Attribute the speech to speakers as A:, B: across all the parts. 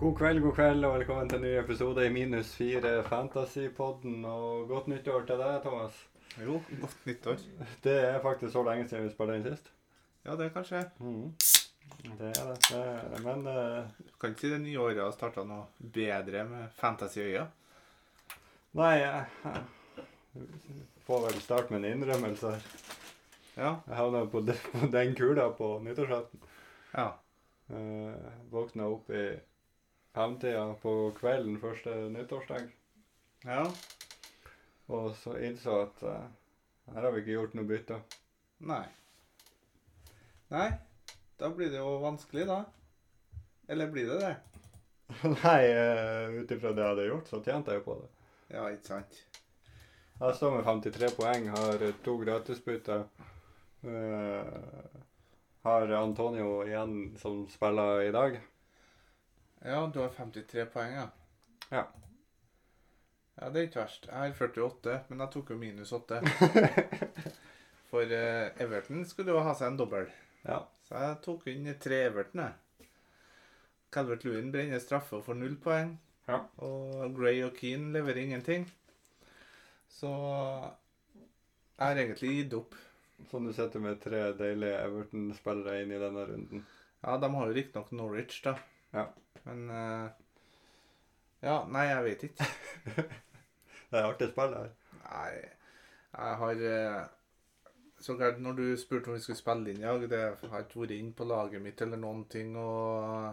A: God kveld, god kveld, og velkommen til en ny episode i Minus 4 Fantasypodden. Og godt nyttår til deg, Thomas.
B: Jo, godt nyttår.
A: Det er faktisk så lenge siden vi spilte inn sist.
B: Ja, det kan skje.
A: Mhm. Det er det. det, er det. Men eh,
B: Du kan ikke si det nye året har starta noe bedre med fantasyøya.
A: Nei, jeg får vel starte med en innrømmelse her.
B: Ja.
A: Jeg havna på de- på den kula på nyttårsaften.
B: ja.
A: Uh, våkna opp i femtida på kvelden første nyttårsdag.
B: Ja.
A: Og så innså at eh, her har vi ikke gjort noe bytte.
B: Nei. Nei. Da blir det jo vanskelig, da. Eller blir det det?
A: Nei, uh, ut ifra det jeg hadde gjort, så tjente jeg jo på det.
B: Ja, ikke sant.
A: Jeg står med 53 poeng, har eh, to gratisbytter. Eh, har Antonio igjen som spiller i dag.
B: Ja, du har 53 poeng, ja.
A: Ja.
B: Ja, det er ikke verst. Jeg har 48, men jeg tok jo minus 8. For eh, Everton skulle jo ha seg en dobbel.
A: Ja.
B: Så jeg tok inn tre Everton, jeg. Calvert Lewin brenner straffe og får null poeng.
A: Ja.
B: Og Gray og Keane leverer ingenting. Så jeg har egentlig gitt opp.
A: Så du sitter med tre deilige Everton-spillere inn i denne runden.
B: Ja, de har jo riktignok Norwich, da.
A: Ja.
B: Men eh, Ja, nei, jeg vet ikke.
A: Det er artig spill her.
B: Nei, jeg har eh, Så klart, når du spurte om vi skulle spille inn i dag, det har ikke vært inn på laget mitt eller noen ting, og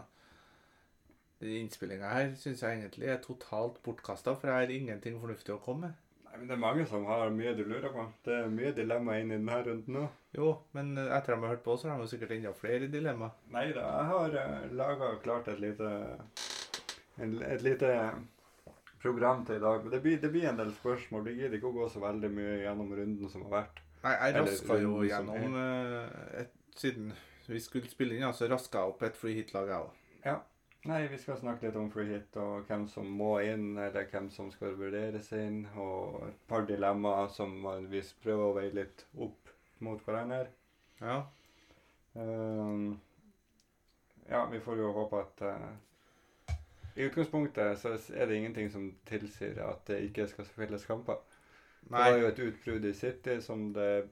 B: innspillinga her syns jeg egentlig er totalt bortkasta, for jeg har ingenting fornuftig å komme med.
A: Nei, men Det er mange som har mye de lurer på. Det er mye dilemma inn i denne runden nå.
B: Jo, men eh, etter at de har hørt på, så har de jo sikkert enda flere dilemmaer.
A: Nei da, jeg har uh, laga klart et lite en, Et lite program til i dag. Men det blir, det blir en del spørsmål. Det gidder ikke å gå så veldig mye gjennom runden som har vært.
B: Nei, jeg
A: Eller
B: raska jo
A: runden som
B: gjennom eh, et, Siden vi skulle spille inn, ja, så raska jeg opp et free hit-lag, jeg òg.
A: Nei, vi skal snakke litt om free hit og hvem som må inn, eller hvem som skal vurderes inn, og et par dilemmaer som man- vi prøver å veie litt opp mot hverandre.
B: Ja.
A: Ehm, ja, vi får jo håpe at eh, I utgangspunktet så er det ingenting som tilsier at det ikke skal spilles kamper. Det
B: Nei.
A: var jo et utbrudd i City som det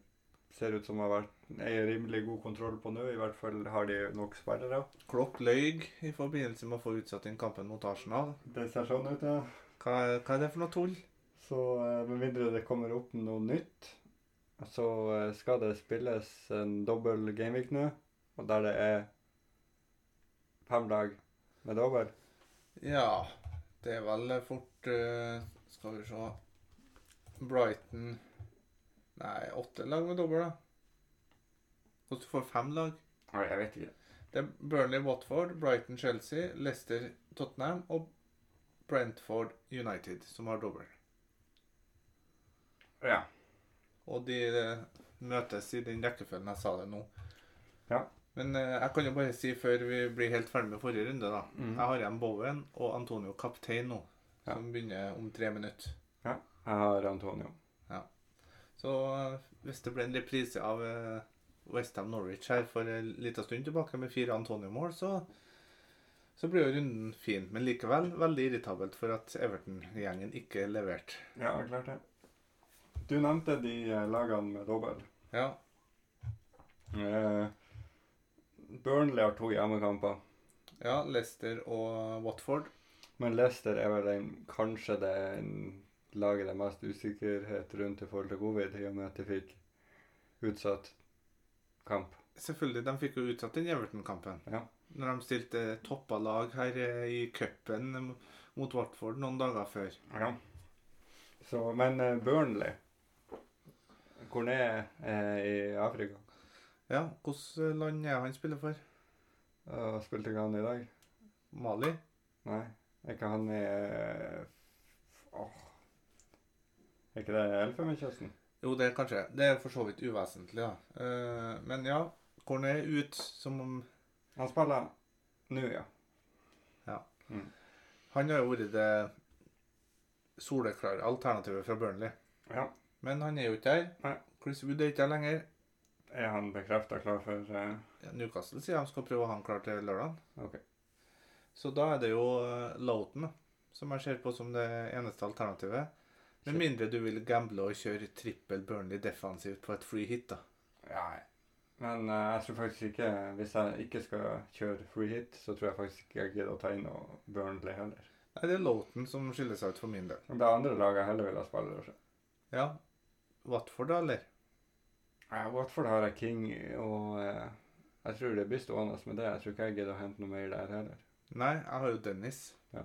A: ser ut som har vært er rimelig god kontroll på nå. I hvert fall har de nok spillere.
B: Klopp løy i forbindelse med å få utsatt inn kampen mot Arsenal.
A: Det ser sånn ut, ja.
B: Hva, hva er det for noe tull?
A: Så eh, med mindre det kommer opp noe nytt, så eh, skal det spilles en dobbel gameweek nå. Og der det er fem lag med dobbel.
B: Ja, det er vel fort eh, Skal vi se Brighton Nei, åtte lag med dobbel, da. Hvis du får fem lag
A: Nei, jeg vet ikke.
B: Det er Burnley Watford, Brighton Chelsea, Leicester Tottenham og Brentford United som har dobbel.
A: Ja.
B: Og de eh, møtes i den rekkefølgen jeg sa det nå.
A: Ja.
B: Men eh, jeg kan jo bare si før vi blir helt ferdig med forrige runde, da.
A: Mhm.
B: Jeg har igjen Bowen og Antonio kaptein nå,
A: Ja.
B: som begynner om tre minutter.
A: Jeg har Antonio.
B: Så eh, hvis det ble en reprise av eh, West Ham Norwich her for en liten stund tilbake med fire Antonio-mål, så, så blir jo runden fin. Men likevel veldig irritabelt for at Everton-gjengen ikke leverte.
A: Ja, klart det. Du nevnte de eh, lagene med dobbel.
B: Ja,
A: Eh, Burnley har to hjemmekamper,
B: ja, Leicester og Watford.
A: men Leicester er vel den, kanskje det laget det er mest usikkerhet rundt i forhold til covid, i og med at de fikk utsatt kamp.
B: Selvfølgelig, de fikk jo utsatt den Everton-kampen.
A: Ja.
B: Når de stilte toppa lag her eh, i cupen eh, mot Watford noen dager før.
A: Ja. Så, men eh, Burnley Hvor nede er i Afrika?
B: Ja, hvilket land er han spiller for?
A: Uh, spilte ikke han i dag?
B: Mali?
A: Nei, er ikke han i eh, åh. Er ikke det Elfenbenskysten?
B: Jo, det er kanskje Det er for så vidt uvesentlig, da. Eh, men ja, Cornet er ut som om
A: Han spiller nå, ja.
B: Han har jo vært det soleklare alternativet fra Burnley.
A: ja.
B: Men han er jo ikke der.
A: Nei.
B: Chris Wood er ikke der lenger.
A: Er han bekrefta klar for eh,
B: Ja, Newcastle sier de skal prøve å ha han klar til lørdag.
A: Ok.
B: Så da er det jo eh, Loughton da, som jeg ser på som det eneste alternativet. Med mindre du vil gamble og kjøre trippel Burnley defensivt på et free hit, da.
A: Nei. Men eh, jeg tror faktisk ikke Hvis jeg ikke skal kjøre free hit, så tror jeg faktisk ikke jeg gidder å ta inn noe Burnley heller.
B: Nei, det er Loughton som skiller seg ut for min del.
A: Men Det er andre lag jeg heller vil ha spillere.
B: Ja. Watford, da, eller?
A: Uh, Watford har jeg King i, og eh, jeg tror det blir stående med det. Jeg tror ikke jeg gidder å hente noe mer der heller.
B: Nei, jeg har jo Dennis.
A: Jeg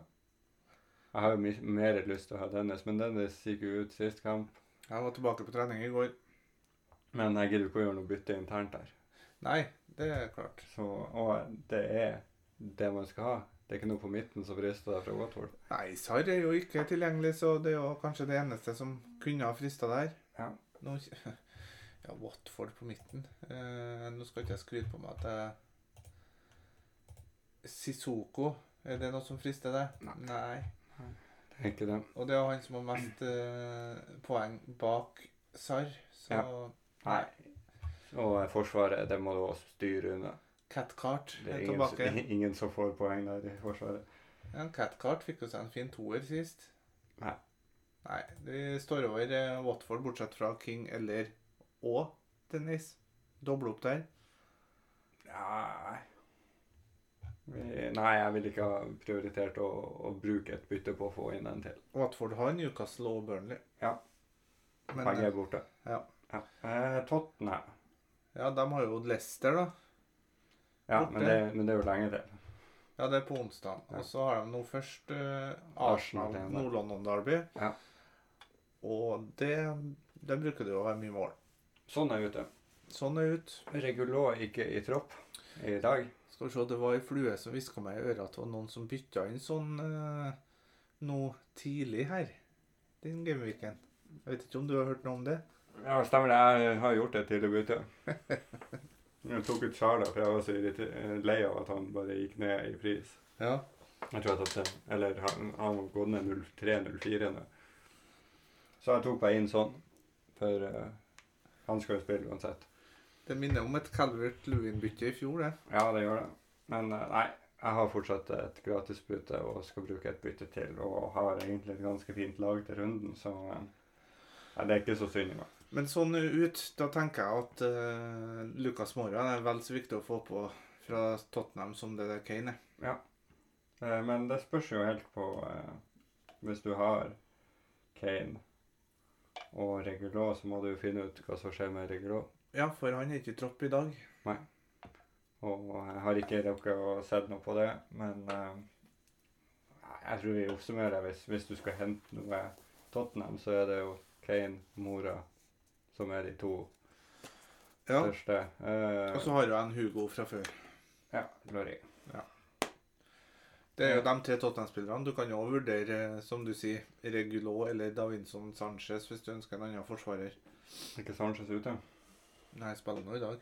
A: har jo mi- mer lyst til å ha Dennis, men Dennis gikk jo ut sist kamp.
B: Jeg var tilbake på trening i går.
A: Men jeg gidder ikke å gjøre noe bytte internt der.
B: Nei, det er klart.
A: Så, og det er det man skal ha. Det er ikke noe på midten som frister deg fra Watford.
B: Nei, Sarr er jo ikke tilgjengelig, så det er jo kanskje det eneste som kunne ha frista der.
A: Ja.
B: Nå, ja, Watford på midten. Eh, nå skal ikke jeg skryte på meg at jeg Sissoko, er det noe som frister deg?
A: Nei. Det er ikke det.
B: Og det er jo han som har mest eh, poeng bak Sarr, så
A: Nei. Og eh, Forsvaret, det må du også styre unna.
B: Catcart
A: Det
B: er
A: er
B: tilbake.
A: ingen, ingen som får poeng der i Forsvaret.
B: Ja, Catcart fikk jo seg en fin toer sist.
A: Nei.
B: Nei, de står over eh, Watford, bortsett fra King eller og Dennis. Doble opp der.
A: Nei. Vi- Nei, jeg ville ikke ha prioritert å, å bruke et bytte på å få inn en til.
B: Watford har Newcastle og Burnley.
A: Ja.
B: Men
A: Begge
B: eh,
A: er borte.
B: ja.
A: Ja. Eh, Tottenham.
B: ja, de har jo Leicester, da.
A: Ja,
B: Borte.
A: men det, men det er jo lenge til.
B: Ja, det er på onsdag.
A: Ja.
B: Og så har de nå først eh,
A: Arsenal
B: Arsenal,
A: igjen, da.
B: Nord-London Derby.
A: Ja.
B: Og det, der bruker det jo å være mye mål.
A: Sånn er ute.
B: Sånn er ut.
A: Regulå ikke i tropp i dag.
B: Skal vi se, det var ei flue som hviska meg i øret at det var noen som bytta inn sånn eh, noe tidlig her. Den gameweeken. Jeg vet ikke om du har hørt noe om det?
A: Ja, stemmer det. Jeg har gjort et tidlig bytte. Jeg tok ut Sjala, for jeg var så irriter- lei av at han bare gikk ned i pris.
B: Ja.
A: Jeg tror jeg tapte. Eller han han var gått ned 03-04 nå. Så jeg tok meg inn sånn. For eh, han skal jo spille uansett.
B: Det minner om et Calvert Lewin-bytte i fjor, det.
A: Ja, det gjør det. Men eh, nei, jeg har fortsatt et gratisbytte og skal bruke et bytte til. Og har egentlig et ganske fint lag til runden, så eh, nei, det er ikke så synd i meg.
B: Men sånn ut, da tenker jeg at eh, Lucas Moran er vel så viktig å få på fra Tottenham som det der Kane er.
A: Eh, Men det spørs jo helt på eh, Hvis du har Kane og Regulå, så må du jo finne ut hva som skjer med Regulå.
B: Ja, for han er ikke i tropp i dag.
A: Og jeg har ikke rukket å sett noe på det, men eh, jeg tror vi oppsummerer hvis, hvis du skal hente noe Tottenham, så er det jo Kane, Mora, som er de to
B: Ja.
A: største. Eh,
B: Og så har jo en Hugo fra før.
A: ja, Glory.
B: Det er jo de tre Tottenham-spillerne. Du kan jo også vurdere, som du sier, Regulo eller Davinson Sanchez hvis du ønsker en annen forsvarer.
A: Er ikke Sanchez ute?
B: Nei, spiller nå i dag.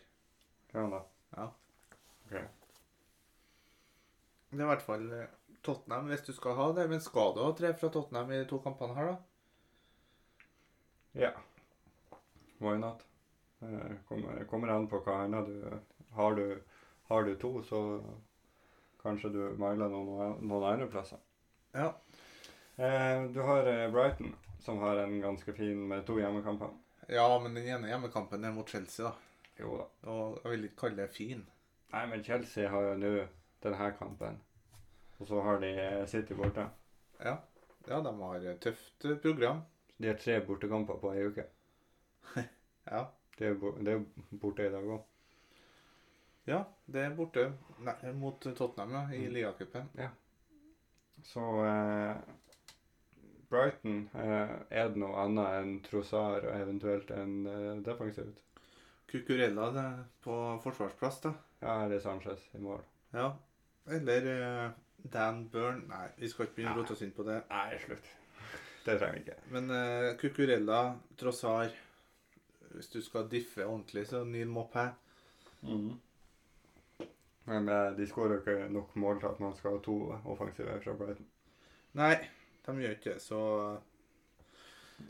A: Hva er han da?
B: Det er i hvert fall eh, Tottenham hvis du skal ha det. Men skal du ha tre fra Tottenham i de to kampene her, da?
A: Ja. Why not? Eh, Kommer, kommer an på hva annet du har, du har du to, så kanskje du mangler noen, noen andre plasser.
B: Ja.
A: Eh, Du har eh, Brighton, som har en ganske fin med to hjemmekamper.
B: Ja, men den ene hjemmekampen er mot Chelsea, da.
A: Jo da.
B: Og jeg vil ikke kalle det fin.
A: Nei, men Chelsea har jo nå denne kampen. Og så har de eh, City borte.
B: Ja. ja, de har et tøft eh, program.
A: De har tre bortekamper på ei uke.
B: Ja.
A: Det er jo bo- det er jo borte i dag òg.
B: ja, det er borte Nei, mot Tottenham ja, i
A: Mm.
B: Liacupen.
A: Så eh, Brighton, eh, er det noe annet enn Trossar og eventuelt en eh, defensivt?
B: Cucurella det, er på forsvarsplass, da.
A: Ja, eller Sanchez i mål.
B: Ja. Eller eh, Dan Burn Nei, vi skal ikke begynne å
A: Nei.
B: rote oss inn på det.
A: Nei, slutt. Det trenger vi ikke.
B: Men uh, Cucurella, Trossar Hvis du skal diffe ordentlig, så Neil Mopé.
A: Mhm. Men eh, de skårer jo ikke nok mål til at man skal ha to offensive fra Brighton.
B: Nei, de gjør ikke det, så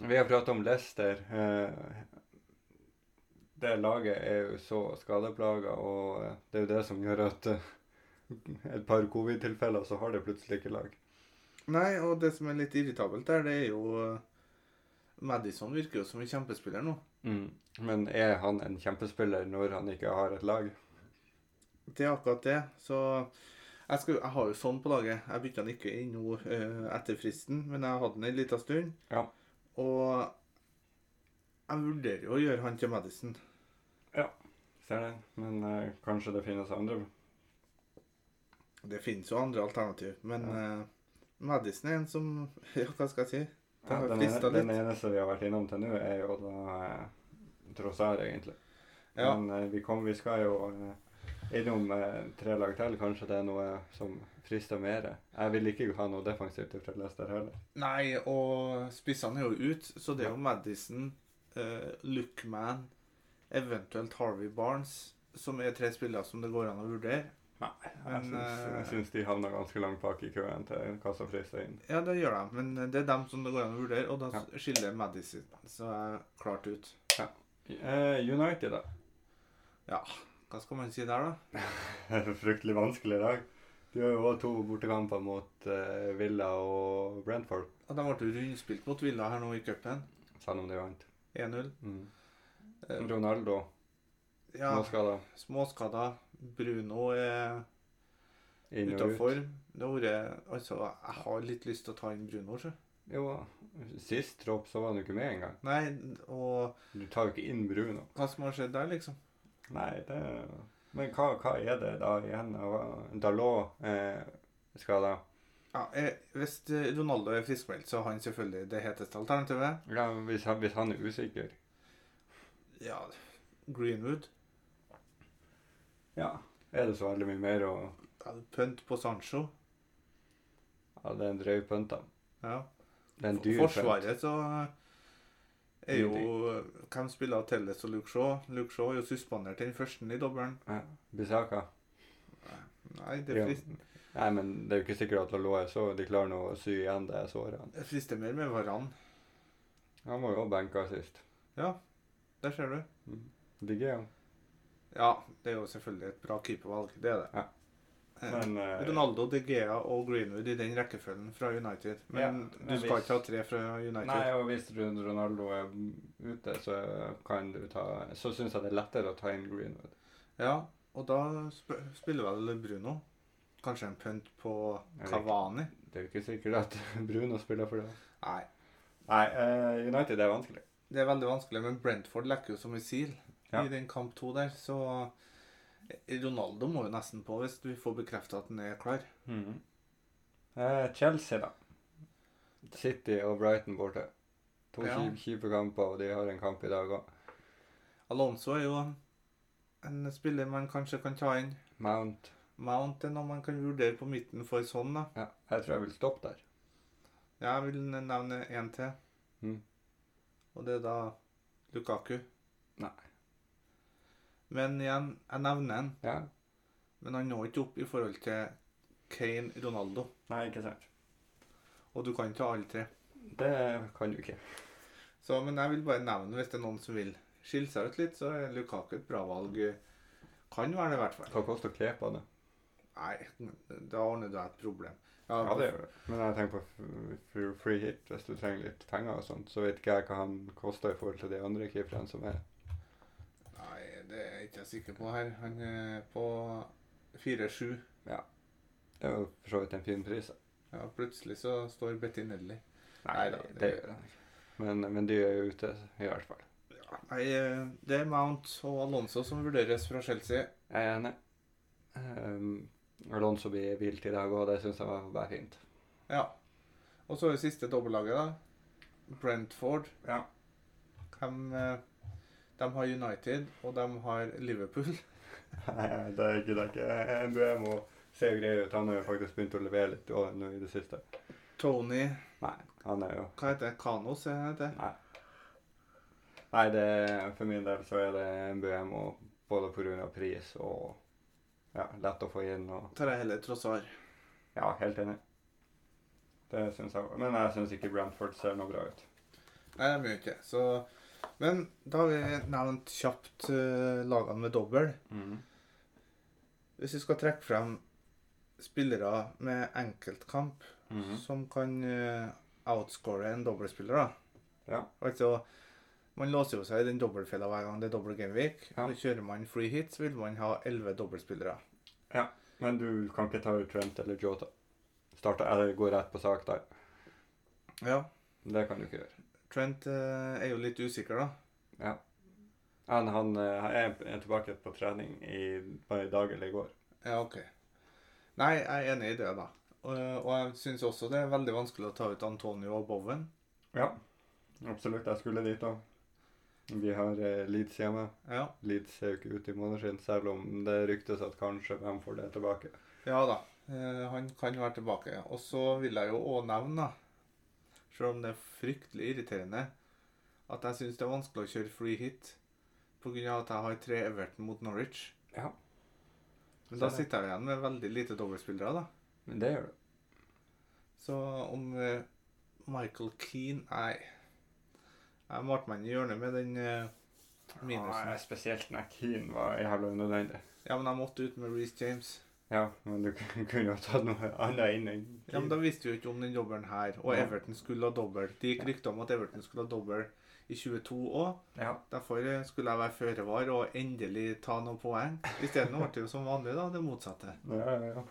A: Vi har pratet om Leicester. Eh, det laget er jo så skadeplaga, og eh, det er jo det som gjør at eh, et par covid-tilfeller, så har det plutselig ikke lag.
B: Nei, og det som er litt irritabelt der, det er jo eh, Madison virker jo som en kjempespiller nå.
A: Mm. Men er han en kjempespiller når han ikke har et lag?
B: Det er akkurat det. Så jeg, skal, jeg har jo sånn på laget. Jeg bytta den ikke inn nå eh, etter fristen, men jeg hadde den en liten stund.
A: Ja.
B: Og jeg vurderer jo å gjøre han til Madison.
A: Ser det. Men eh, kanskje det finnes andre.
B: Det finnes jo andre alternativ, men eh, Madison er en som Ja, hva skal jeg si? Det
A: Ja,
B: har
A: den,
B: fristet
A: ene, den
B: litt.
A: eneste vi har vært innom til nå, er jo da eh, Trossard, egentlig.
B: Ja.
A: Men eh, vi, kom, vi skal jo eh, innom eh, tre lag til. Kanskje det er noe som frister mer. Jeg vil ikke ha noe defensivt fra Leicester heller.
B: Nei, og spissene er jo ut, så det er jo Madison, eh, Lookman, eventuelt Harvey Barnes, som er tre spillere som det går an å vurdere.
A: Jeg
B: Men,
A: syns, jeg
B: eh,
A: syns de havna ganske langt bak i køen til hva som frister inn.
B: Ja, det gjør de, men det er dem som det går an å vurdere, og da
A: Ja.
B: skiller Madison seg klart ut.
A: Eh, United, da.
B: Hva skal man si der, da?
A: Fryktelig vanskelig i dag. De har jo også to bortekamper mot eh, Villa og Brentford,
B: At de ble rundspilt mot Villa her nå i cupen.
A: selv om de vant.
B: 1-0.
A: Mm.
B: Eh,
A: Ronaldo,
B: Ja,
A: småskada.
B: småskader. Bruno er
A: Inn og ut.
B: utafor. Det har vært Altså, jeg har litt lyst til å ta inn Bruno, sjø.
A: Jo, sist tropp så var han jo ikke med engang.
B: Nei, og
A: Du tar jo ikke inn Bruno.
B: hva som har skjedd der, liksom?
A: Nei, det Men hva, hva er det da igjen? Dalot eh, skada.
B: Ja, eh, Hvis eh, Ronaldo er friskmeldt, så er han selvfølgelig det heteste alternativet.
A: Ja, hvis, han- hvis han er usikker.
B: Ja, Greenwood.
A: Ja. Er det så veldig mye mer å
B: Ja, Pønt på Sancho.
A: Ja, det er en drøy pønt, da.
B: Ja.
A: Det er en
B: For-
A: dyr pønt.
B: Forsvaret, så eh, er jo eh, Hvem spiller Telles og Luke Shaw? Luke Shaw er jo suspendert den første i dobbelen.
A: Ja. Bisaka.
B: Nei, det frist,
A: Nei, men det er jo ikke sikkert at Dalot er så De klarer nå å sy igjen det såret.
B: det frister mer med Varan.
A: Han var jo også benka sist.
B: Der ser du.
A: Mm. Digg, ja.
B: Ja, det er jo selvfølgelig et bra keepervalg. Det er det.
A: Ja.
B: Eh,
A: Men eh,
B: Ronaldo, De Gea og Greenwood i den rekkefølgen fra United. Men
A: Ja, men
B: du skal
A: hvis-
B: ikke ha tre fra United.
A: Nei, og hvis Ron- Ronaldo er ute, så kan du ta Så syns jeg det er lettere å ta inn Greenwood.
B: Ja, og da sp spiller vel Bruno. Kanskje en pønt på
A: Jeg vet
B: Cavani?
A: Det er jo ikke sikkert at Bruno spiller for det.
B: Nei.
A: Nei, eh, United er vanskelig.
B: Det er veldig vanskelig, men Brentford lekker jo som en sil
A: Ja.
B: i den kamp to der, så Ronaldo må jo nesten på hvis vi får bekreftet at han er klar.
A: Mhm. Eh, Chelsea, da. City og Brighton borte. To
B: Ja.
A: kjip- kjipe kamper, og de har en kamp i dag òg.
B: Alonso er jo en spiller man kanskje kan ta inn.
A: Mount.
B: Mount er noe man kan vurdere på midten for sånn, da.
A: Ja, jeg tror jeg vil stoppe der.
B: Jeg vil nevne én til,
A: Mhm.
B: og det er da Lukaku.
A: Nei.
B: Men igjen, jeg nevner han.
A: Ja.
B: Men han når ikke opp i forhold til Kane, Ronaldo.
A: Nei, ikke sant.
B: Og du kan ta alle tre.
A: Det kan du ikke.
B: Så, men jeg vil bare nevne, hvis det er noen som vil skille seg ut litt, så er Lukaku et bra valg. Kan være det, i hvert fall.
A: Hva koster Klepa, det?
B: Nei, da ordner du deg et problem. Ja,
A: Ja, det gjør det. Men jeg tenker på f- f- free hit, hvis du trenger litt penger og sånt. Så vet ikke jeg hva han koster i forhold til de andre keeperne som er
B: Nei, det er jeg ikke sikker på her. Han er på 4-7.
A: Det er jo for så vidt en fin pris. da.
B: Ja, plutselig så står Bettinelli. Neida,
A: det,
B: det
A: gjør han ikke. Men, men de er jo ute, i hvert fall.
B: Nei, eh, det er Mount og Alonso som vurderes fra Chelsea.
A: Jeg er enig. Um, Alonso blir hvilt i dag òg, det syns jeg var bare fint.
B: Ja. Og så er det siste dobbeltlaget, da. Brentford.
A: Ja.
B: Hvem, eh, de har United, og de har Liverpool.
A: Nei, det er ikke det. er ikke- NBE må se grei ut. Han har jo faktisk begynt å levere litt også nå i det siste.
B: Tony
A: Nei, han er jo
B: Hva heter det? Kanos? er det det?
A: Nei. Nei, det, er- for min del så er det NBM og både pga. pris og ja, lett å få inn og
B: Tar jeg heller Trossar.
A: Ja, helt enig. Det syns jeg. Men jeg syns ikke Brantford ser noe bra ut.
B: Nei, de gjør ikke det. Så Men da har vi nevnt kjapt eh, lagene med dobbel. Hvis vi skal trekke frem spillere med enkeltkamp som kan eh, outscore en dobbeltspiller. da.
A: Ja.
B: Altså, man låser jo seg i den dobbeltfella hver gang det er dobbel gameweek.
A: Ja.
B: Når Kjører man free hit, så vil man ha elleve dobbeltspillere.
A: Men du kan ikke ta ut Trent eller Jota. Starte, eller gå rett på sak der.
B: Ja.
A: Det kan du ikke gjøre.
B: Trent eh, er jo litt usikker, da.
A: Han, han eh, er er tilbake på trening i, bare i dag eller i går.
B: Ja, OK. Nei, jeg er enig i det, da. Og, og jeg syns også det er veldig vanskelig å ta ut Antonio og Bowen.
A: Ja, absolutt. Jeg skulle dit òg. Vi har eh, Leeds hjemme.
B: Ja,
A: Leeds ser jo ikke ut i måneden, selv om det ryktes at kanskje hvem får det tilbake.
B: ja da. Eh, han kan være tilbake. Og så vil jeg jo òg nevne, da, selv om det er fryktelig irriterende, at jeg syns det er vanskelig å kjøre free hit pga. at jeg har tre Everton mot Norwich.
A: Ja.
B: Men da
A: Så det-
B: sitter jeg igjen med veldig lite dobbeltspillere, da.
A: Men det gjør det.
B: Så om eh, Michael Keane Nei. Jeg malte meg inn i hjørnet med den eh, minusen.
A: Ja, spesielt når Keane var jævla unødvendig.
B: Ja, men jeg måtte ut med Reece James.
A: Ja, men du kunne jo tatt noe annet inn enn
B: Ja, men Da visste vi jo ikke om den dobbelen her. Og
A: Nei.
B: Everton skulle ha dobbel. Det gikk rykter om at Everton skulle ha dobbel i 22 òg.
A: Ja.
B: Derfor eh, skulle jeg være føre var og endelig ta noen poeng. Isteden ble det jo som vanlig da, det motsatte.
A: Ja, ja, ja.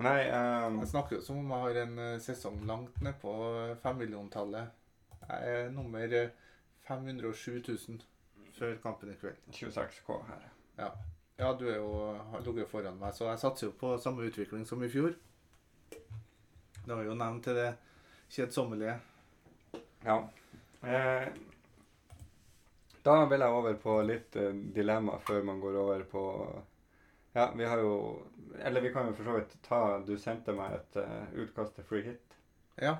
A: Nei, ehm,
B: Jeg snakker jo som om jeg har en eh, sesong langt nedpå femmilliontallet. Jeg er nummer eh, 507 000 før kampen i kveld.
A: 26K her.
B: Ja, du er jo, har ligget foran meg, så jeg satser jo på samme utvikling som i fjor. Det var jo nevnt til det kjedsommelige.
A: Ja. Eh, da vil jeg over på litt eh, dilemma før man går over på Ja, vi har jo Eller vi kan jo for så vidt ta Du sendte meg et eh, utkast til free hit.
B: Ja,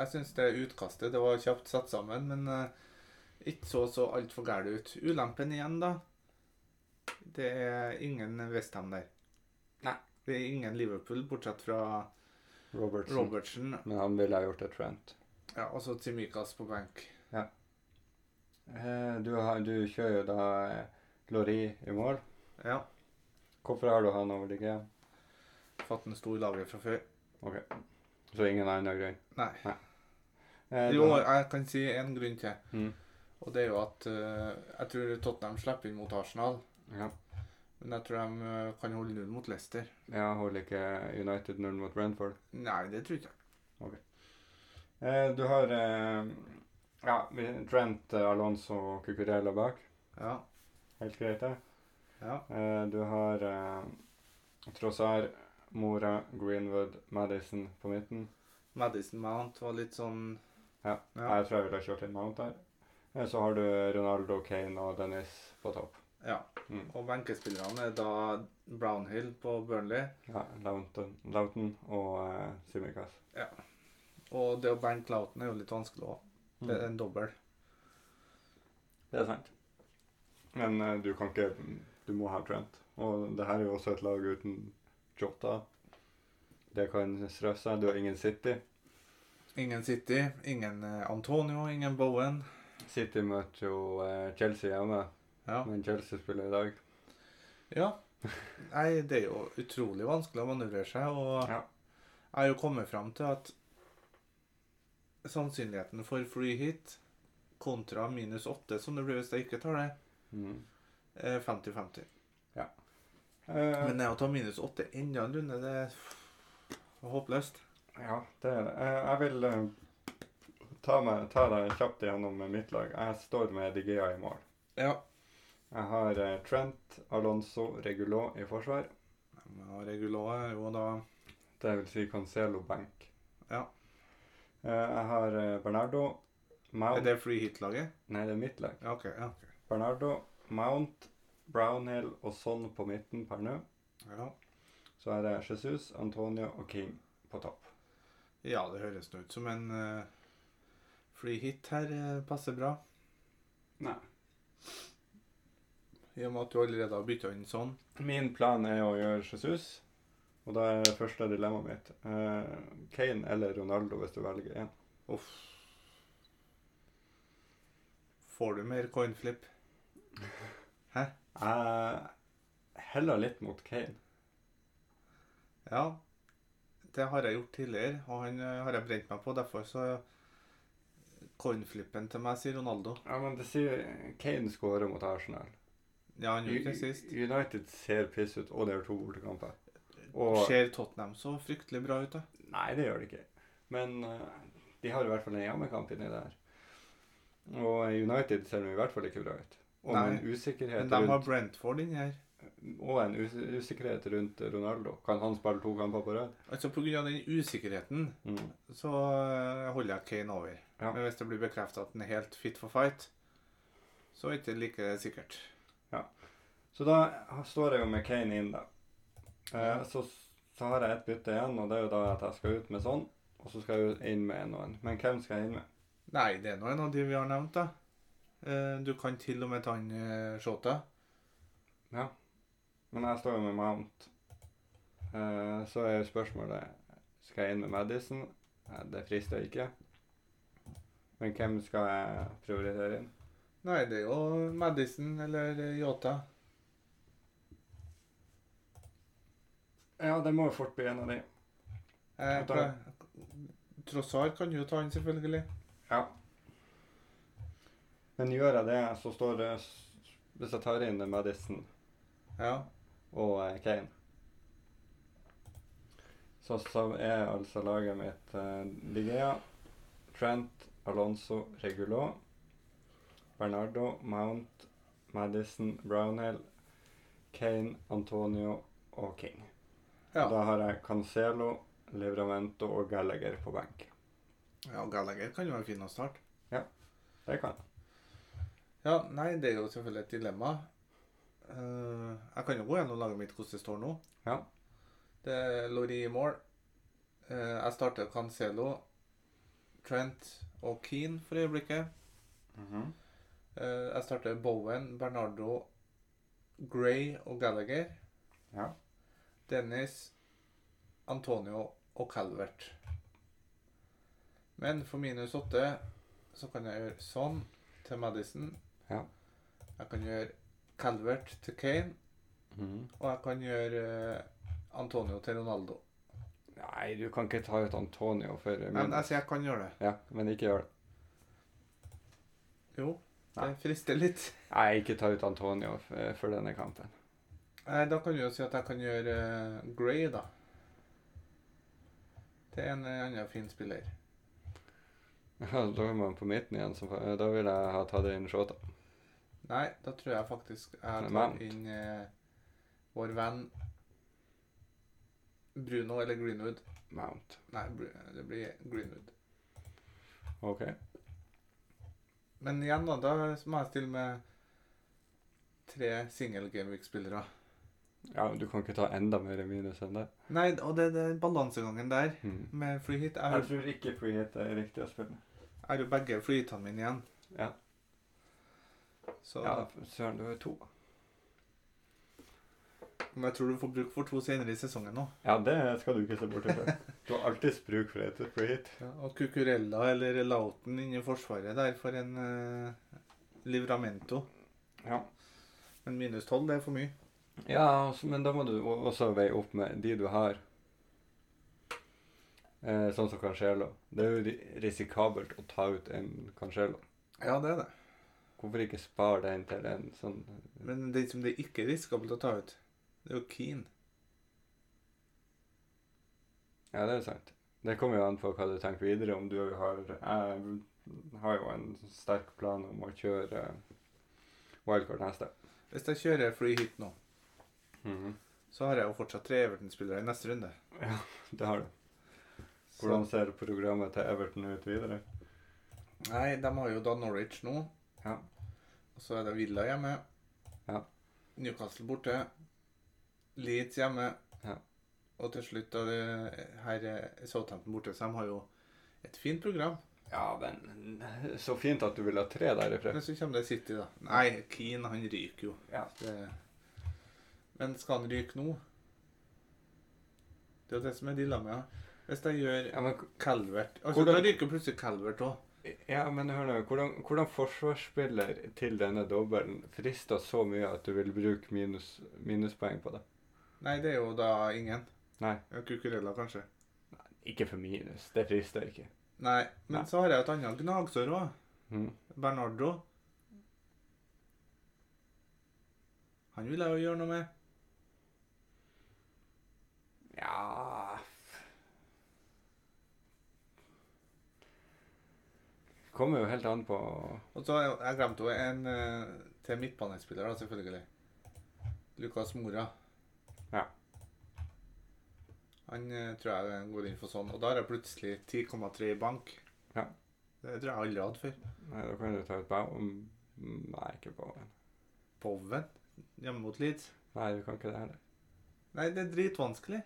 B: jeg syns det utkastet det var kjapt satt sammen, men eh, ikke så så altfor gæli ut. Ulempen igjen, da. Det er ingen Westham der.
A: Nei.
B: Det er ingen Liverpool, bortsett fra
A: Robertson.
B: Robertsen
A: Men han ville ha gjort et Trent.
B: ja, og så Tsimikas på benk.
A: Eh, du, har, du kjører jo da eh, Lori i mål.
B: Ja,
A: Hvorfor har du han over de greiene?
B: fatten sto i laget fra før.
A: Så ingen annen grunn?
B: Nei.
A: Eh, du
B: Jo,
A: har-
B: jeg kan si en grunn til.
A: Mm.
B: Og det er jo at eh, jeg tror Tottenham slipper inn mot Arsenal.
A: Ja.
B: Men jeg tror de eh, kan holde null mot Leicester.
A: Jeg holder ikke United null mot Brentford.
B: Nei, det tror jeg ikke.
A: Eh, du har eh, ja, Trent, eh, Alonso og Cucurella bak.
B: Ja,
A: Helt greit, det.
B: ja.
A: Eh, du har eh, Trossar, Mora, Greenwood, Madison på midten.
B: Madison Mount var litt sånn
A: Ja.
B: Ja.
A: Jeg tror jeg ville ha kjørt inn Mount der. Eh, så har du Ronaldo, Kane og Dennis på topp.
B: ja.
A: Mm.
B: Og benkespillerne er da Brownhill på Burnley.
A: Ja, Loughton, Loughton og eh, Simicas.
B: Og det å benke Lauten er jo litt vanskelig òg.
A: Mm.
B: Det er en dobbel.
A: Det er sant. Men eh, du kan ikke Du må ha Trent. Og det her er jo også et lag uten Jota. Det kan stresse seg. Du har ingen City.
B: Ingen City, ingen eh, Antonio, ingen Bowen.
A: City møter jo eh, Chelsea hjemme,
B: Ja.
A: men Chelsea spiller i dag.
B: ja. Nei, det er jo utrolig vanskelig å manøvrere seg, og
A: Ja.
B: jeg har jo kommet fram til at sannsynligheten for free hit kontra minus åtte, som det blir hvis jeg ikke tar det,
A: Mm.
B: er 50-50.
A: Eh,
B: Men det å ta minus åtte enda en runde, det er håpløst.
A: ja, det er det. Eh, jeg vil eh, ta, meg, ta deg kjapt igjennom med mitt lag. Jeg står med Digea i mål.
B: Ja.
A: Jeg har eh, Trent, Alonso, Regulot i forsvar.
B: Ja, Regulo er jo da
A: Det vil si Cancelo Bank.
B: Ja.
A: Eh, jeg har eh, Bernardo,
B: Er
A: Mount
B: det free hit-laget?
A: Nei, det er mitt lag.
B: Ja, OK. Ja, ok.
A: Bernardo, Mount, Brownhill og Son på midten per nå.
B: ja.
A: Så er det Jesus, Antonio og King på topp.
B: ja det høres nå ut som en eh, free hit her eh, passer bra.
A: Nei.
B: I og med at du allerede har bytta inn sånn.
A: Min plan er å gjøre Jesus, og da er det første dilemmaet mitt. Eh, Kane eller Ronaldo, hvis du velger én.
B: Uff. Får du mer coinflip?
A: Jeg heller litt mot Kane.
B: Ja, det har jeg gjort tidligere, og han eh, har jeg brent meg på. Derfor så Coinflippen til meg, sier Ronaldo.
A: Ja, men det sier Kane skårer mot Arsenal.
B: Ja, han gjorde det
A: U-
B: sist.
A: United ser piss ut, og det er to bortekamper. Og
B: Ser Tottenham så fryktelig bra ut, da?
A: Nei, det gjør det ikke. Men eh, de har i hvert fall en hjemmekamp inni der. Og United ser nå i hvert fall ikke bra ut. Og med en
B: Men
A: usikkerhet
B: de har
A: rundt,
B: Brentford inni her.
A: og en us usikkerhet rundt Ronaldo. Kan han spille to kamper på rad?
B: Altså Pga. den usikkerheten
A: Mm.
B: så eh, holder jeg Kane over.
A: Ja.
B: Men hvis det blir bekreftet at han er helt fit for fight, så er det ikke like sikkert.
A: Så da står jeg jo med Kane inn, da. Eh, så, så har jeg et bytte igjen, og det er jo da at jeg skal ut med sånn. Og så skal jeg jo inn med en og en. Men hvem skal jeg inn med?
B: Nei, det er nå en av de vi har nevnt, da. Eh, Du kan til og med ta han eh, Shota.
A: Men jeg står jo med Mount. Eh, så er jo spørsmålet Skal jeg inn med Madison? Eh, det frister ikke. Men hvem skal jeg prioritere inn?
B: Nei, det er jo Madison eller eh, Yota.
A: Ja, det må jo fort bli en av de.
B: Eh,
A: Yota.
B: pla- Trossard kan jo ta han, selvfølgelig.
A: Ja. Men gjør jeg det, så står det Hvis jeg tar inn Madison
B: Ja.
A: og eh, Kane. Så, så er altså laget mitt eh, De Gea, Trent, Alonso, Regulo, Bernardo, Mount, Madison, Brownhill, Kane, Antonio og King.
B: Ja.
A: Da har jeg Cancelo, Livramento og Gallagher på benk.
B: ja, Gallagher kan jo være fin å starte.
A: Det kan jeg.
B: Ja, nei, det er jo selvfølgelig et dilemma. Eh, jeg kan jo gå gjennom laget mitt hvordan det står nå.
A: Ja.
B: Det er Lori i mål. Eh, jeg starter Cancelo, Trent og Keane for øyeblikket. Mhm. Eh, jeg starter Bowen, Bernardo, Gray og Gallagher.
A: Ja.
B: Dennis, Antonio og Calvert. Men for minus åtte så kan jeg gjøre sånn til Madison.
A: Ja.
B: Jeg kan gjøre Calvert til Kane, og jeg kan gjøre eh, Antonio til Ronaldo.
A: Nei, du kan ikke ta ut Antonio for eh,
B: Men
A: min.
B: jeg sier jeg kan gjøre det.
A: Ja, men ikke gjør det.
B: Jo, det
A: Nei.
B: frister litt.
A: Nei, ikke ta ut Antonio for, for denne kampen.
B: Nei, da kan du jo si at jeg kan gjøre eh, Gray, da. Til en eh, annen fin spiller.
A: Ja, da er man på midten igjen, så fa- da vil jeg ha tatt inn Shota.
B: Nei, da tror jeg faktisk jeg tar
A: Mount.
B: inn eh, vår venn Bruno eller Greenwood.
A: Mount.
B: Nei, Bru- det blir Greenwood.
A: Ok.
B: Men igjen, da, da må jeg stille med tre single Gameweek-spillere.
A: Ja, men du kan ikke ta enda mer minus enn det.
B: Nei, og det, det er balansegangen der med free hit. Jeg har-
A: Hmm. Jeg tror ikke free hit er riktig å spille.
B: jeg har jo begge free hitene mine igjen.
A: Ja.
B: Så,
A: Ja, søren, du er to.
B: Men jeg tror du får bruk for to senere i sesongen nå.
A: Ja, det skal du ikke se bort ifra. Du har alltids bruk for et free hit.
B: Ja, og Cucurella eller Lauten inni forsvaret der for en eh, Livramento.
A: Ja.
B: Men minus 12, det er for mye.
A: Ja, altså, men da må du o- også veie opp med de du har. Eh, sånn som Cancelo. Det er jo ri- risikabelt å ta ut en Cancelo.
B: Ja, det er det.
A: Hvorfor ikke spare den til en sånn
B: Men den som det ikke er risikabelt å ta ut, det er jo Keane.
A: Ja, det er sant. Det kommer jo an på hva du tenker videre. Om du har Jeg har jo en sterk plan om å kjøre eh, wildcard neste.
B: Hvis jeg kjører free hit nå,
A: Mhm.
B: så har jeg jo fortsatt tre Everton-spillere i neste runde.
A: Det har du. Hvordan ser programmet til Everton ut videre?
B: Så, nei, de har jo da Norwich nå.
A: Ja.
B: Og så er det Villa hjemme.
A: Ja.
B: Newcastle borte. Leeds hjemme.
A: Ja.
B: Og til slutt da det her er Southampton borte, så de har jo et fint program.
A: Ja, men Så fint at du vil ha tre derifra.
B: Men så kommer det City, da. Nei, Keane han ryker jo.
A: Ja.
B: Det... Men skal han ryke nå? Det er jo det som er dilemmaet. Hvis jeg gjør
A: Ja, men,
B: Calvert altså,
A: Hvordan-
B: Da ryker plutselig Calvert òg.
A: ja, men hør nå. Hvordan, hvordan forsvarsspiller til denne dobbelen frister så mye at du vil bruke minus, minuspoeng på det?
B: Nei, det er jo da ingen.
A: Nei.
B: Ja, Cucurella, kanskje.
A: Ikke for minus. Det frister ikke.
B: Nei, men
A: Nei.
B: så har jeg et annet gnagsår òg.
A: Mm.
B: Bernardo. Han vil jeg jo gjøre noe med.
A: Ja Kommer jo helt an på
B: Og så har jeg, jeg glemte jo en eh, til midtbanespiller, da, selvfølgelig. Lukas Mora.
A: Ja.
B: Han eh, tror jeg går inn for sånn. Og da har jeg plutselig 10,3 i bank.
A: Ja.
B: Det tror jeg aldri jeg hadde før.
A: Nei, da kan du ta ut Bowen. Nei, ikke Bowen.
B: Bowen hjemme mot Leeds.
A: Nei, du kan ikke det heller.
B: Nei, det er dritvanskelig.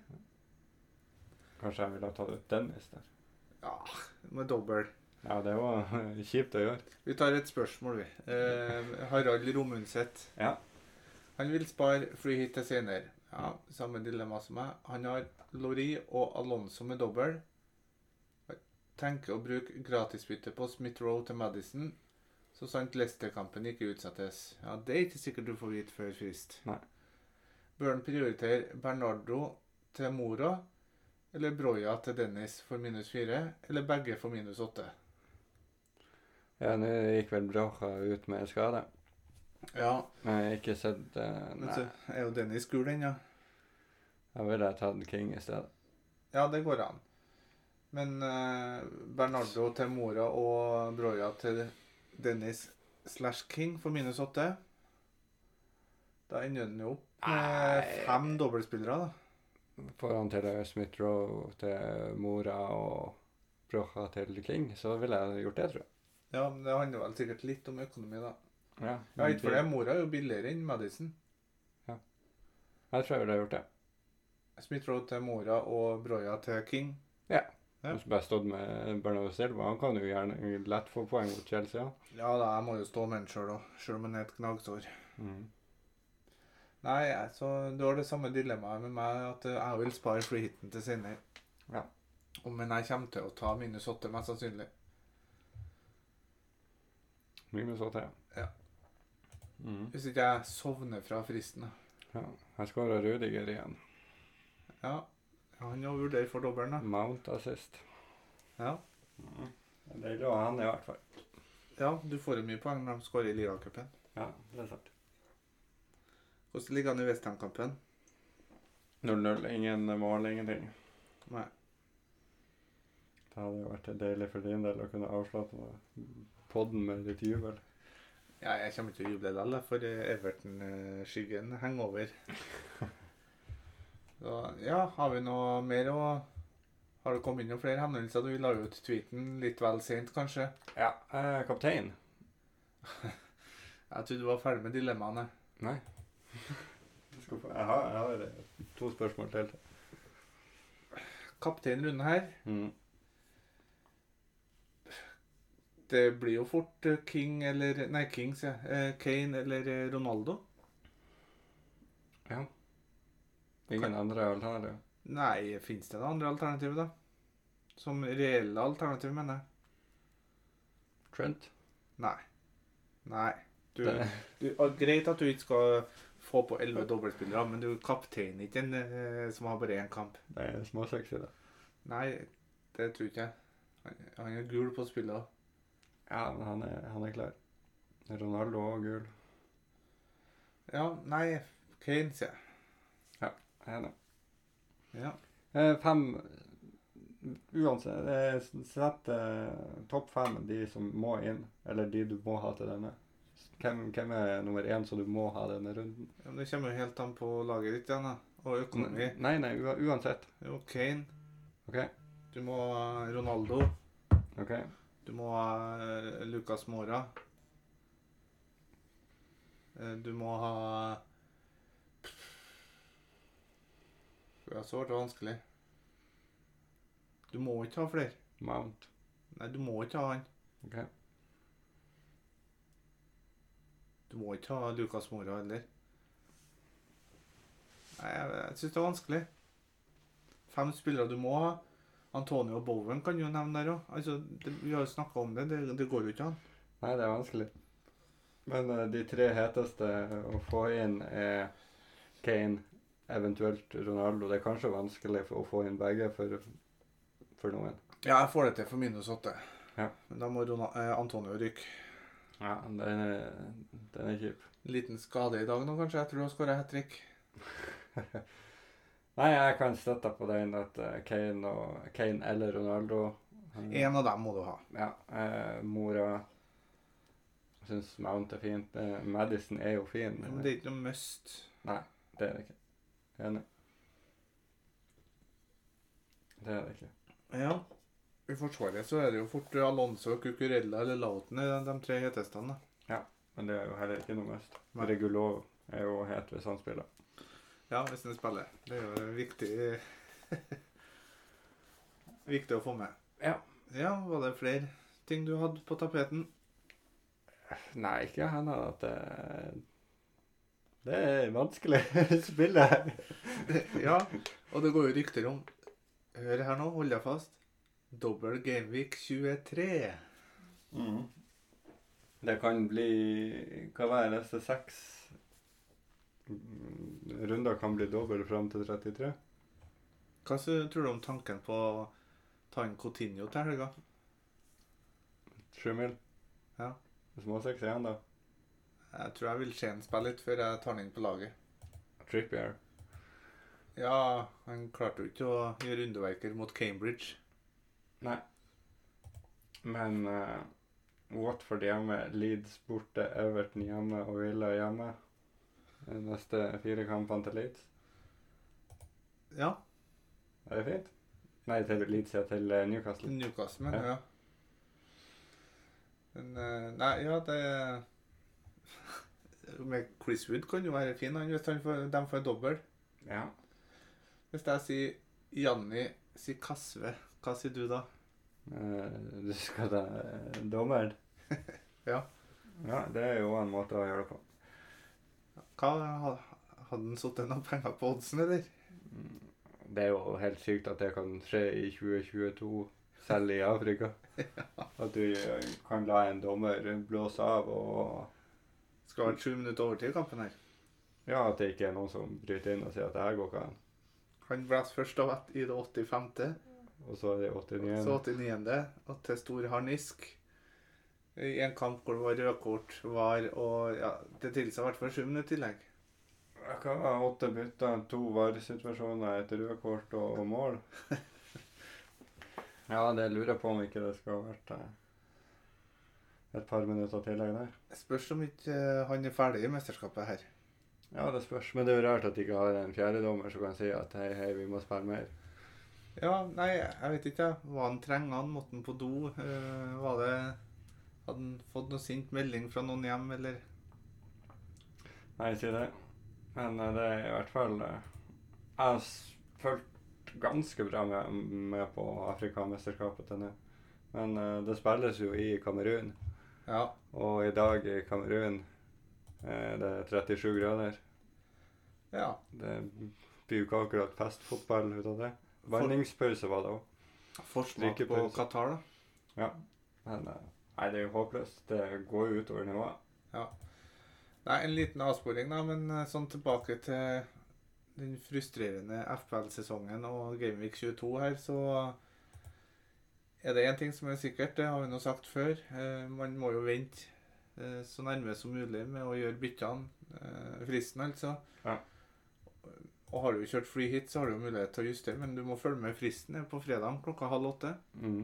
A: Kanskje jeg ville ha tatt ut Dennis der.
B: Ja, med dobbel.
A: Ja, det var kjipt å gjøre.
B: Vi tar et spørsmål, vi. Eh, Harald Romundset.
A: Ja.
B: Han vil spare fly hit til senere. Ja, samme dilemma som meg. Han har Lori og Alonso med dobbel. Tenker å bruke gratisbytte på Smith Row til Madison, så sant Leicester-kampen ikke utsettes. Ja, Det er ikke sikkert du får vite før frist.
A: Nei.
B: Bør han prioritere Bernardo til Mora eller Broya til Dennis for minus fire, eller begge for minus åtte?
A: Ja, nå gikk vel Brocha ut med skade.
B: Ja,
A: Men jeg har ikke sett eh,
B: men
A: Nei,
B: så er jo Dennis gul ennå.
A: da ville jeg tatt King i stedet.
B: Ja, det går an. Men eh, Bernardo til Mora og Broya til Dennis slash King for minus åtte Da ender den jo opp med
A: Nei.
B: fem dobbeltspillere, da.
A: Får han til eh, Smith Rowe til Mora og Brocha til King, så ville jeg gjort det, tror jeg.
B: Ja, men Det handler vel sikkert litt om økonomi, da.
A: Ja,
B: Ja, ikke
A: Mm,
B: for det. Mora er jo billigere enn Madison.
A: Jeg tror jeg ville ha gjort det.
B: Smith-Roe til Mora og Broya til King. Ja.
A: Ja. Hvis bare stått med Bernardo Silva, han kan jo gjerne lett få poeng mot Chelsea. han.
B: Ja da, jeg må jo stå med den sjøl òg, sjøl om den er et gnagsår.
A: Mm.
B: Nei, jeg- så du har det samme dilemmaet med meg, at eh, jeg vil spare freehiten til senere.
A: Ja.
B: Og, men jeg kommer til å ta minus åtte, mest sannsynlig.
A: Mye med så til.
B: Ja.
A: Mhm.
B: Hvis ikke jeg sovner fra fristen. da.
A: ja. Her skårer Rudiger igjen.
B: Ja, ja han jo vurderer for dobbelen, da.
A: Mount assist.
B: Ja.
A: Det er glad han i hvert fall.
B: ja, du får jo mye poeng når de skårer i Ligacupen.
A: Ja, det er sant.
B: Hvordan ligger han i Westham-kampen?
A: 0-0. Ingen mål, ingenting.
B: Nei.
A: Det hadde jo vært deilig for din del å kunne avslutte med podden med litt jubel.
B: Ja, jeg kommer ikke til å juble likevel, da, for eh, Everton-skyggen henger over. Så, ja, har vi noe mer å Har det kommet inn noen flere henvendelser? Du la jo ut tweeten litt vel sent, kanskje?
A: Ja. Eh, kaptein?
B: Jeg trodde du var ferdig med dilemmaene.
A: Nei. Skuffa. Jeg har, jeg har eh, to spørsmål til.
B: Kaptein Rune her.
A: Mm.
B: Det blir jo fort eh, King eller Nei, King, sier jeg. Eh, Kane eller eh, Ronaldo.
A: Ingen andre alternativ?
B: Nei, fins det noen andre alternativer, da? Som reelle alternativer, mener jeg.
A: Trent?
B: Nei. Nei. Du,
A: Det-
B: du, og greit at du ikke skal få på elleve dobbeltspillere, men du kapteiner ikke en eh, som har bare én kamp.
A: Det er småsexy, det.
B: Nei, det tror ikke jeg. Han, han er gul på spillet òg.
A: Ja, men han er, han er klar. Ronaldo og gul.
B: Ja, nei, Kane, sier jeg.
A: Jeg er enig.
B: Ja.
A: Eh, fem Uansett, eh, s- sett eh, topp fem de som må inn, eller de du må ha til denne. Hvem, hvem er nummer én som du må ha denne runden?
B: Ja, men Det kommer jo helt an på laget ditt igjen, da. Og økonomi.
A: Nei, nei, ua- uansett.
B: Jo, Kane.
A: OK?
B: Du må ha Ronaldo.
A: ok.
B: Du må ha eh, Lucas Mora. Eh, Du må ha Ja, så ble det vanskelig. Du må ikke ha flere.
A: Mount.
B: Nei, du må ikke ha han.
A: OK?
B: Du må ikke ha Lucas Mora heller. Nei, jeg, jeg syns det er vanskelig. Fem spillere du må ha. Antonio Bowen kan du jo nevne der òg. Altså, det- vi har jo snakka om det. det. Det går jo ikke an.
A: Nei, det er vanskelig. Men eh, de tre heteste å få inn er Kane, eventuelt Ronaldo. Det er kanskje vanskelig for å få inn begge, for for noen.
B: Ja, jeg får det til for minus åtte.
A: Ja.
B: Men da må Rona, eh, Antonio ryke.
A: Ja, den er, den er kjip.
B: En liten skade i dag nå, kanskje. Jeg tror han skåra hat trick.
A: Nei, jeg kan støtte på den at eh, Kane, og, Kane eller Ronaldo eh,
B: En av dem må du ha.
A: Ja. Eh, mora syns Mount er fint. Eh, Madison er jo fin.
B: Men det er ikke noe must.
A: Det er det ikke. Enig. Det er det ikke.
B: Ja. I Forsvaret så er det jo fort Alonso, Cucurella eller Lauten i de, de tre heteste. da.
A: Men det er jo heller ikke noe mest.
B: Nei.
A: Regulov er jo het hvis han spiller.
B: Ja, hvis den spiller. Det er jo viktig Viktig å få med.
A: Ja.
B: Ja, Var det flere ting du hadde på tapeten?
A: Nei, ikke hender det at det eh, Det er vanskelig spille.
B: ja. Og det går jo rykter om Hør her nå, hold deg fast. Dobbel Gameweek 23.
A: Mhm. Det kan bli Hva var det neste seks mm, runder kan bli dobbel fram til 33?
B: Hva sy- tror du om tanken på å ta inn Coutinho til helga?
A: Sju mil.
B: Ja.
A: Småseks igjen, da.
B: Jeg tror jeg vil se han spille litt før jeg tar han inn på laget.
A: Trippier.
B: Ja, han klarte jo ikke å gjøre underverker mot Cambridge.
A: Men eh, Watford hjemme, Leeds borte, Everton hjemme og Villa hjemme. De neste fire kampene til Leeds.
B: Ja,
A: Er det fint? Nei, til Leeds, ja. Til eh, Newcastle.
B: Newcastle, men
A: Ja.
B: ja. Men eh, Nei, ja, det Med Chris Wood kan jo være fin han, hvis han får, de får dobbel.
A: Ja.
B: Hvis jeg sier Janni sier Kasve, hva sier du da?
A: Eh, du skal da eh, Dommeren?
B: Ja.
A: Ja, det er jo en måte å gjøre det på.
B: Hva, ha- hadde han satt noen penger på oddsen, eller?
A: Det er jo helt sykt at det kan skje i 2022, selv i Afrika. At du eh, kan la en dommer blåse av, og
B: Skal ha vært sju minutter overtid i kampen her.
A: ja, at det ikke er noen som bryter inn og sier at det her går ikke an.
B: Han blåste først av ett i det 85.,
A: Og så er det
B: så
A: 89.
B: 89., og til stor harnisk. I en kamp hvor det var rødkort, var og ja, Det tilsa i hvert fall sju minutter i tillegg.
A: Hva var åtte bytter, to varesituasjoner, et rødt kort og, og mål? Ja, det lurer jeg på om ikke det skal ha vært eh, et par minutter tillegg der.
B: Spørs om ikke eh, han er ferdig i mesterskapet her.
A: Ja, det spørs. Men det er jo rart at de ikke har en fjerdedommer som kan si at hei, hei, vi må spille mer.
B: Ja, nei, jeg vet ikke. jeg. Var han trenger han? Måtte han på do? Eh, var det Hadde han fått noe sint melding fra noen hjem, eller?
A: Nei, si det. Men eh, det er i hvert fall eh, Jeg har s- fulgt ganske bra med, med på Afrikamesterskapet til nå. Men eh, det spilles jo i Kamerun,
B: Ja.
A: og i dag i Kamerun eh, det er 37 grader.
B: ja.
A: Det blir jo ikke akkurat festfotball ut av det.
B: For,
A: Vanningspause var det òg.
B: forsmak på
A: Drikepause.
B: Qatar, da.
A: Men eh, nei, det er jo håpløst. Det går jo utover nivået.
B: Nei, en liten avsporing, da, men eh, sånn tilbake til den frustrerende FPL-sesongen og Gameweek 22 her, så er det én ting som er sikkert, det har vi nå sagt før. eh, Man må jo vente eh, så nærme som mulig med å gjøre byttene. eh, Fristen, altså.
A: Ja.
B: Og har du kjørt fly hit, så har du jo mulighet til å justere, men du må følge med fristen det er på fredag klokka halv åtte.
A: Mm.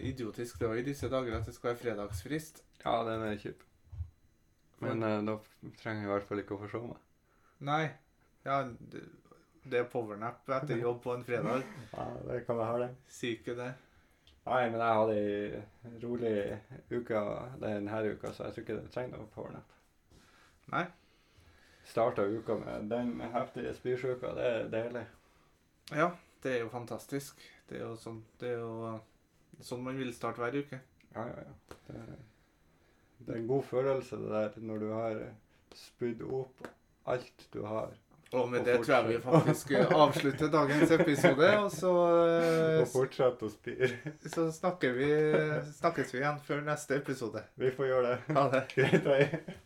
B: Idiotisk det er i disse dager at det skal være fredagsfrist.
A: Ja, den er kjip. Men eh, da trenger jeg i hvert fall ikke å forsove meg.
B: Nei. Ja, det det er powernap etter jobb på en fredag.
A: Ja, det kan jeg ha, det.
B: Sier ikke det.
A: Nei, men jeg hadde ei rolig uke denne uka, så jeg tror ikke det trenger noe powernap.
B: Nei.
A: Starta uka med den heftige spysjuka. Det er deilig.
B: Ja, det er jo fantastisk. Det er jo sånn, det er jo sånn man vil starte hver uke.
A: Ja, ja, ja. Det er, det er en god følelse, det der, når du har spydd opp alt du har.
B: Og med
A: Og
B: det tror jeg vi faktisk avslutter dagens episode, og så, eh,
A: Og fortsette å spire.
B: så snakker vi, snakkes vi igjen før neste episode.
A: Vi får gjøre det.
B: Ha det.
A: Greit, hei.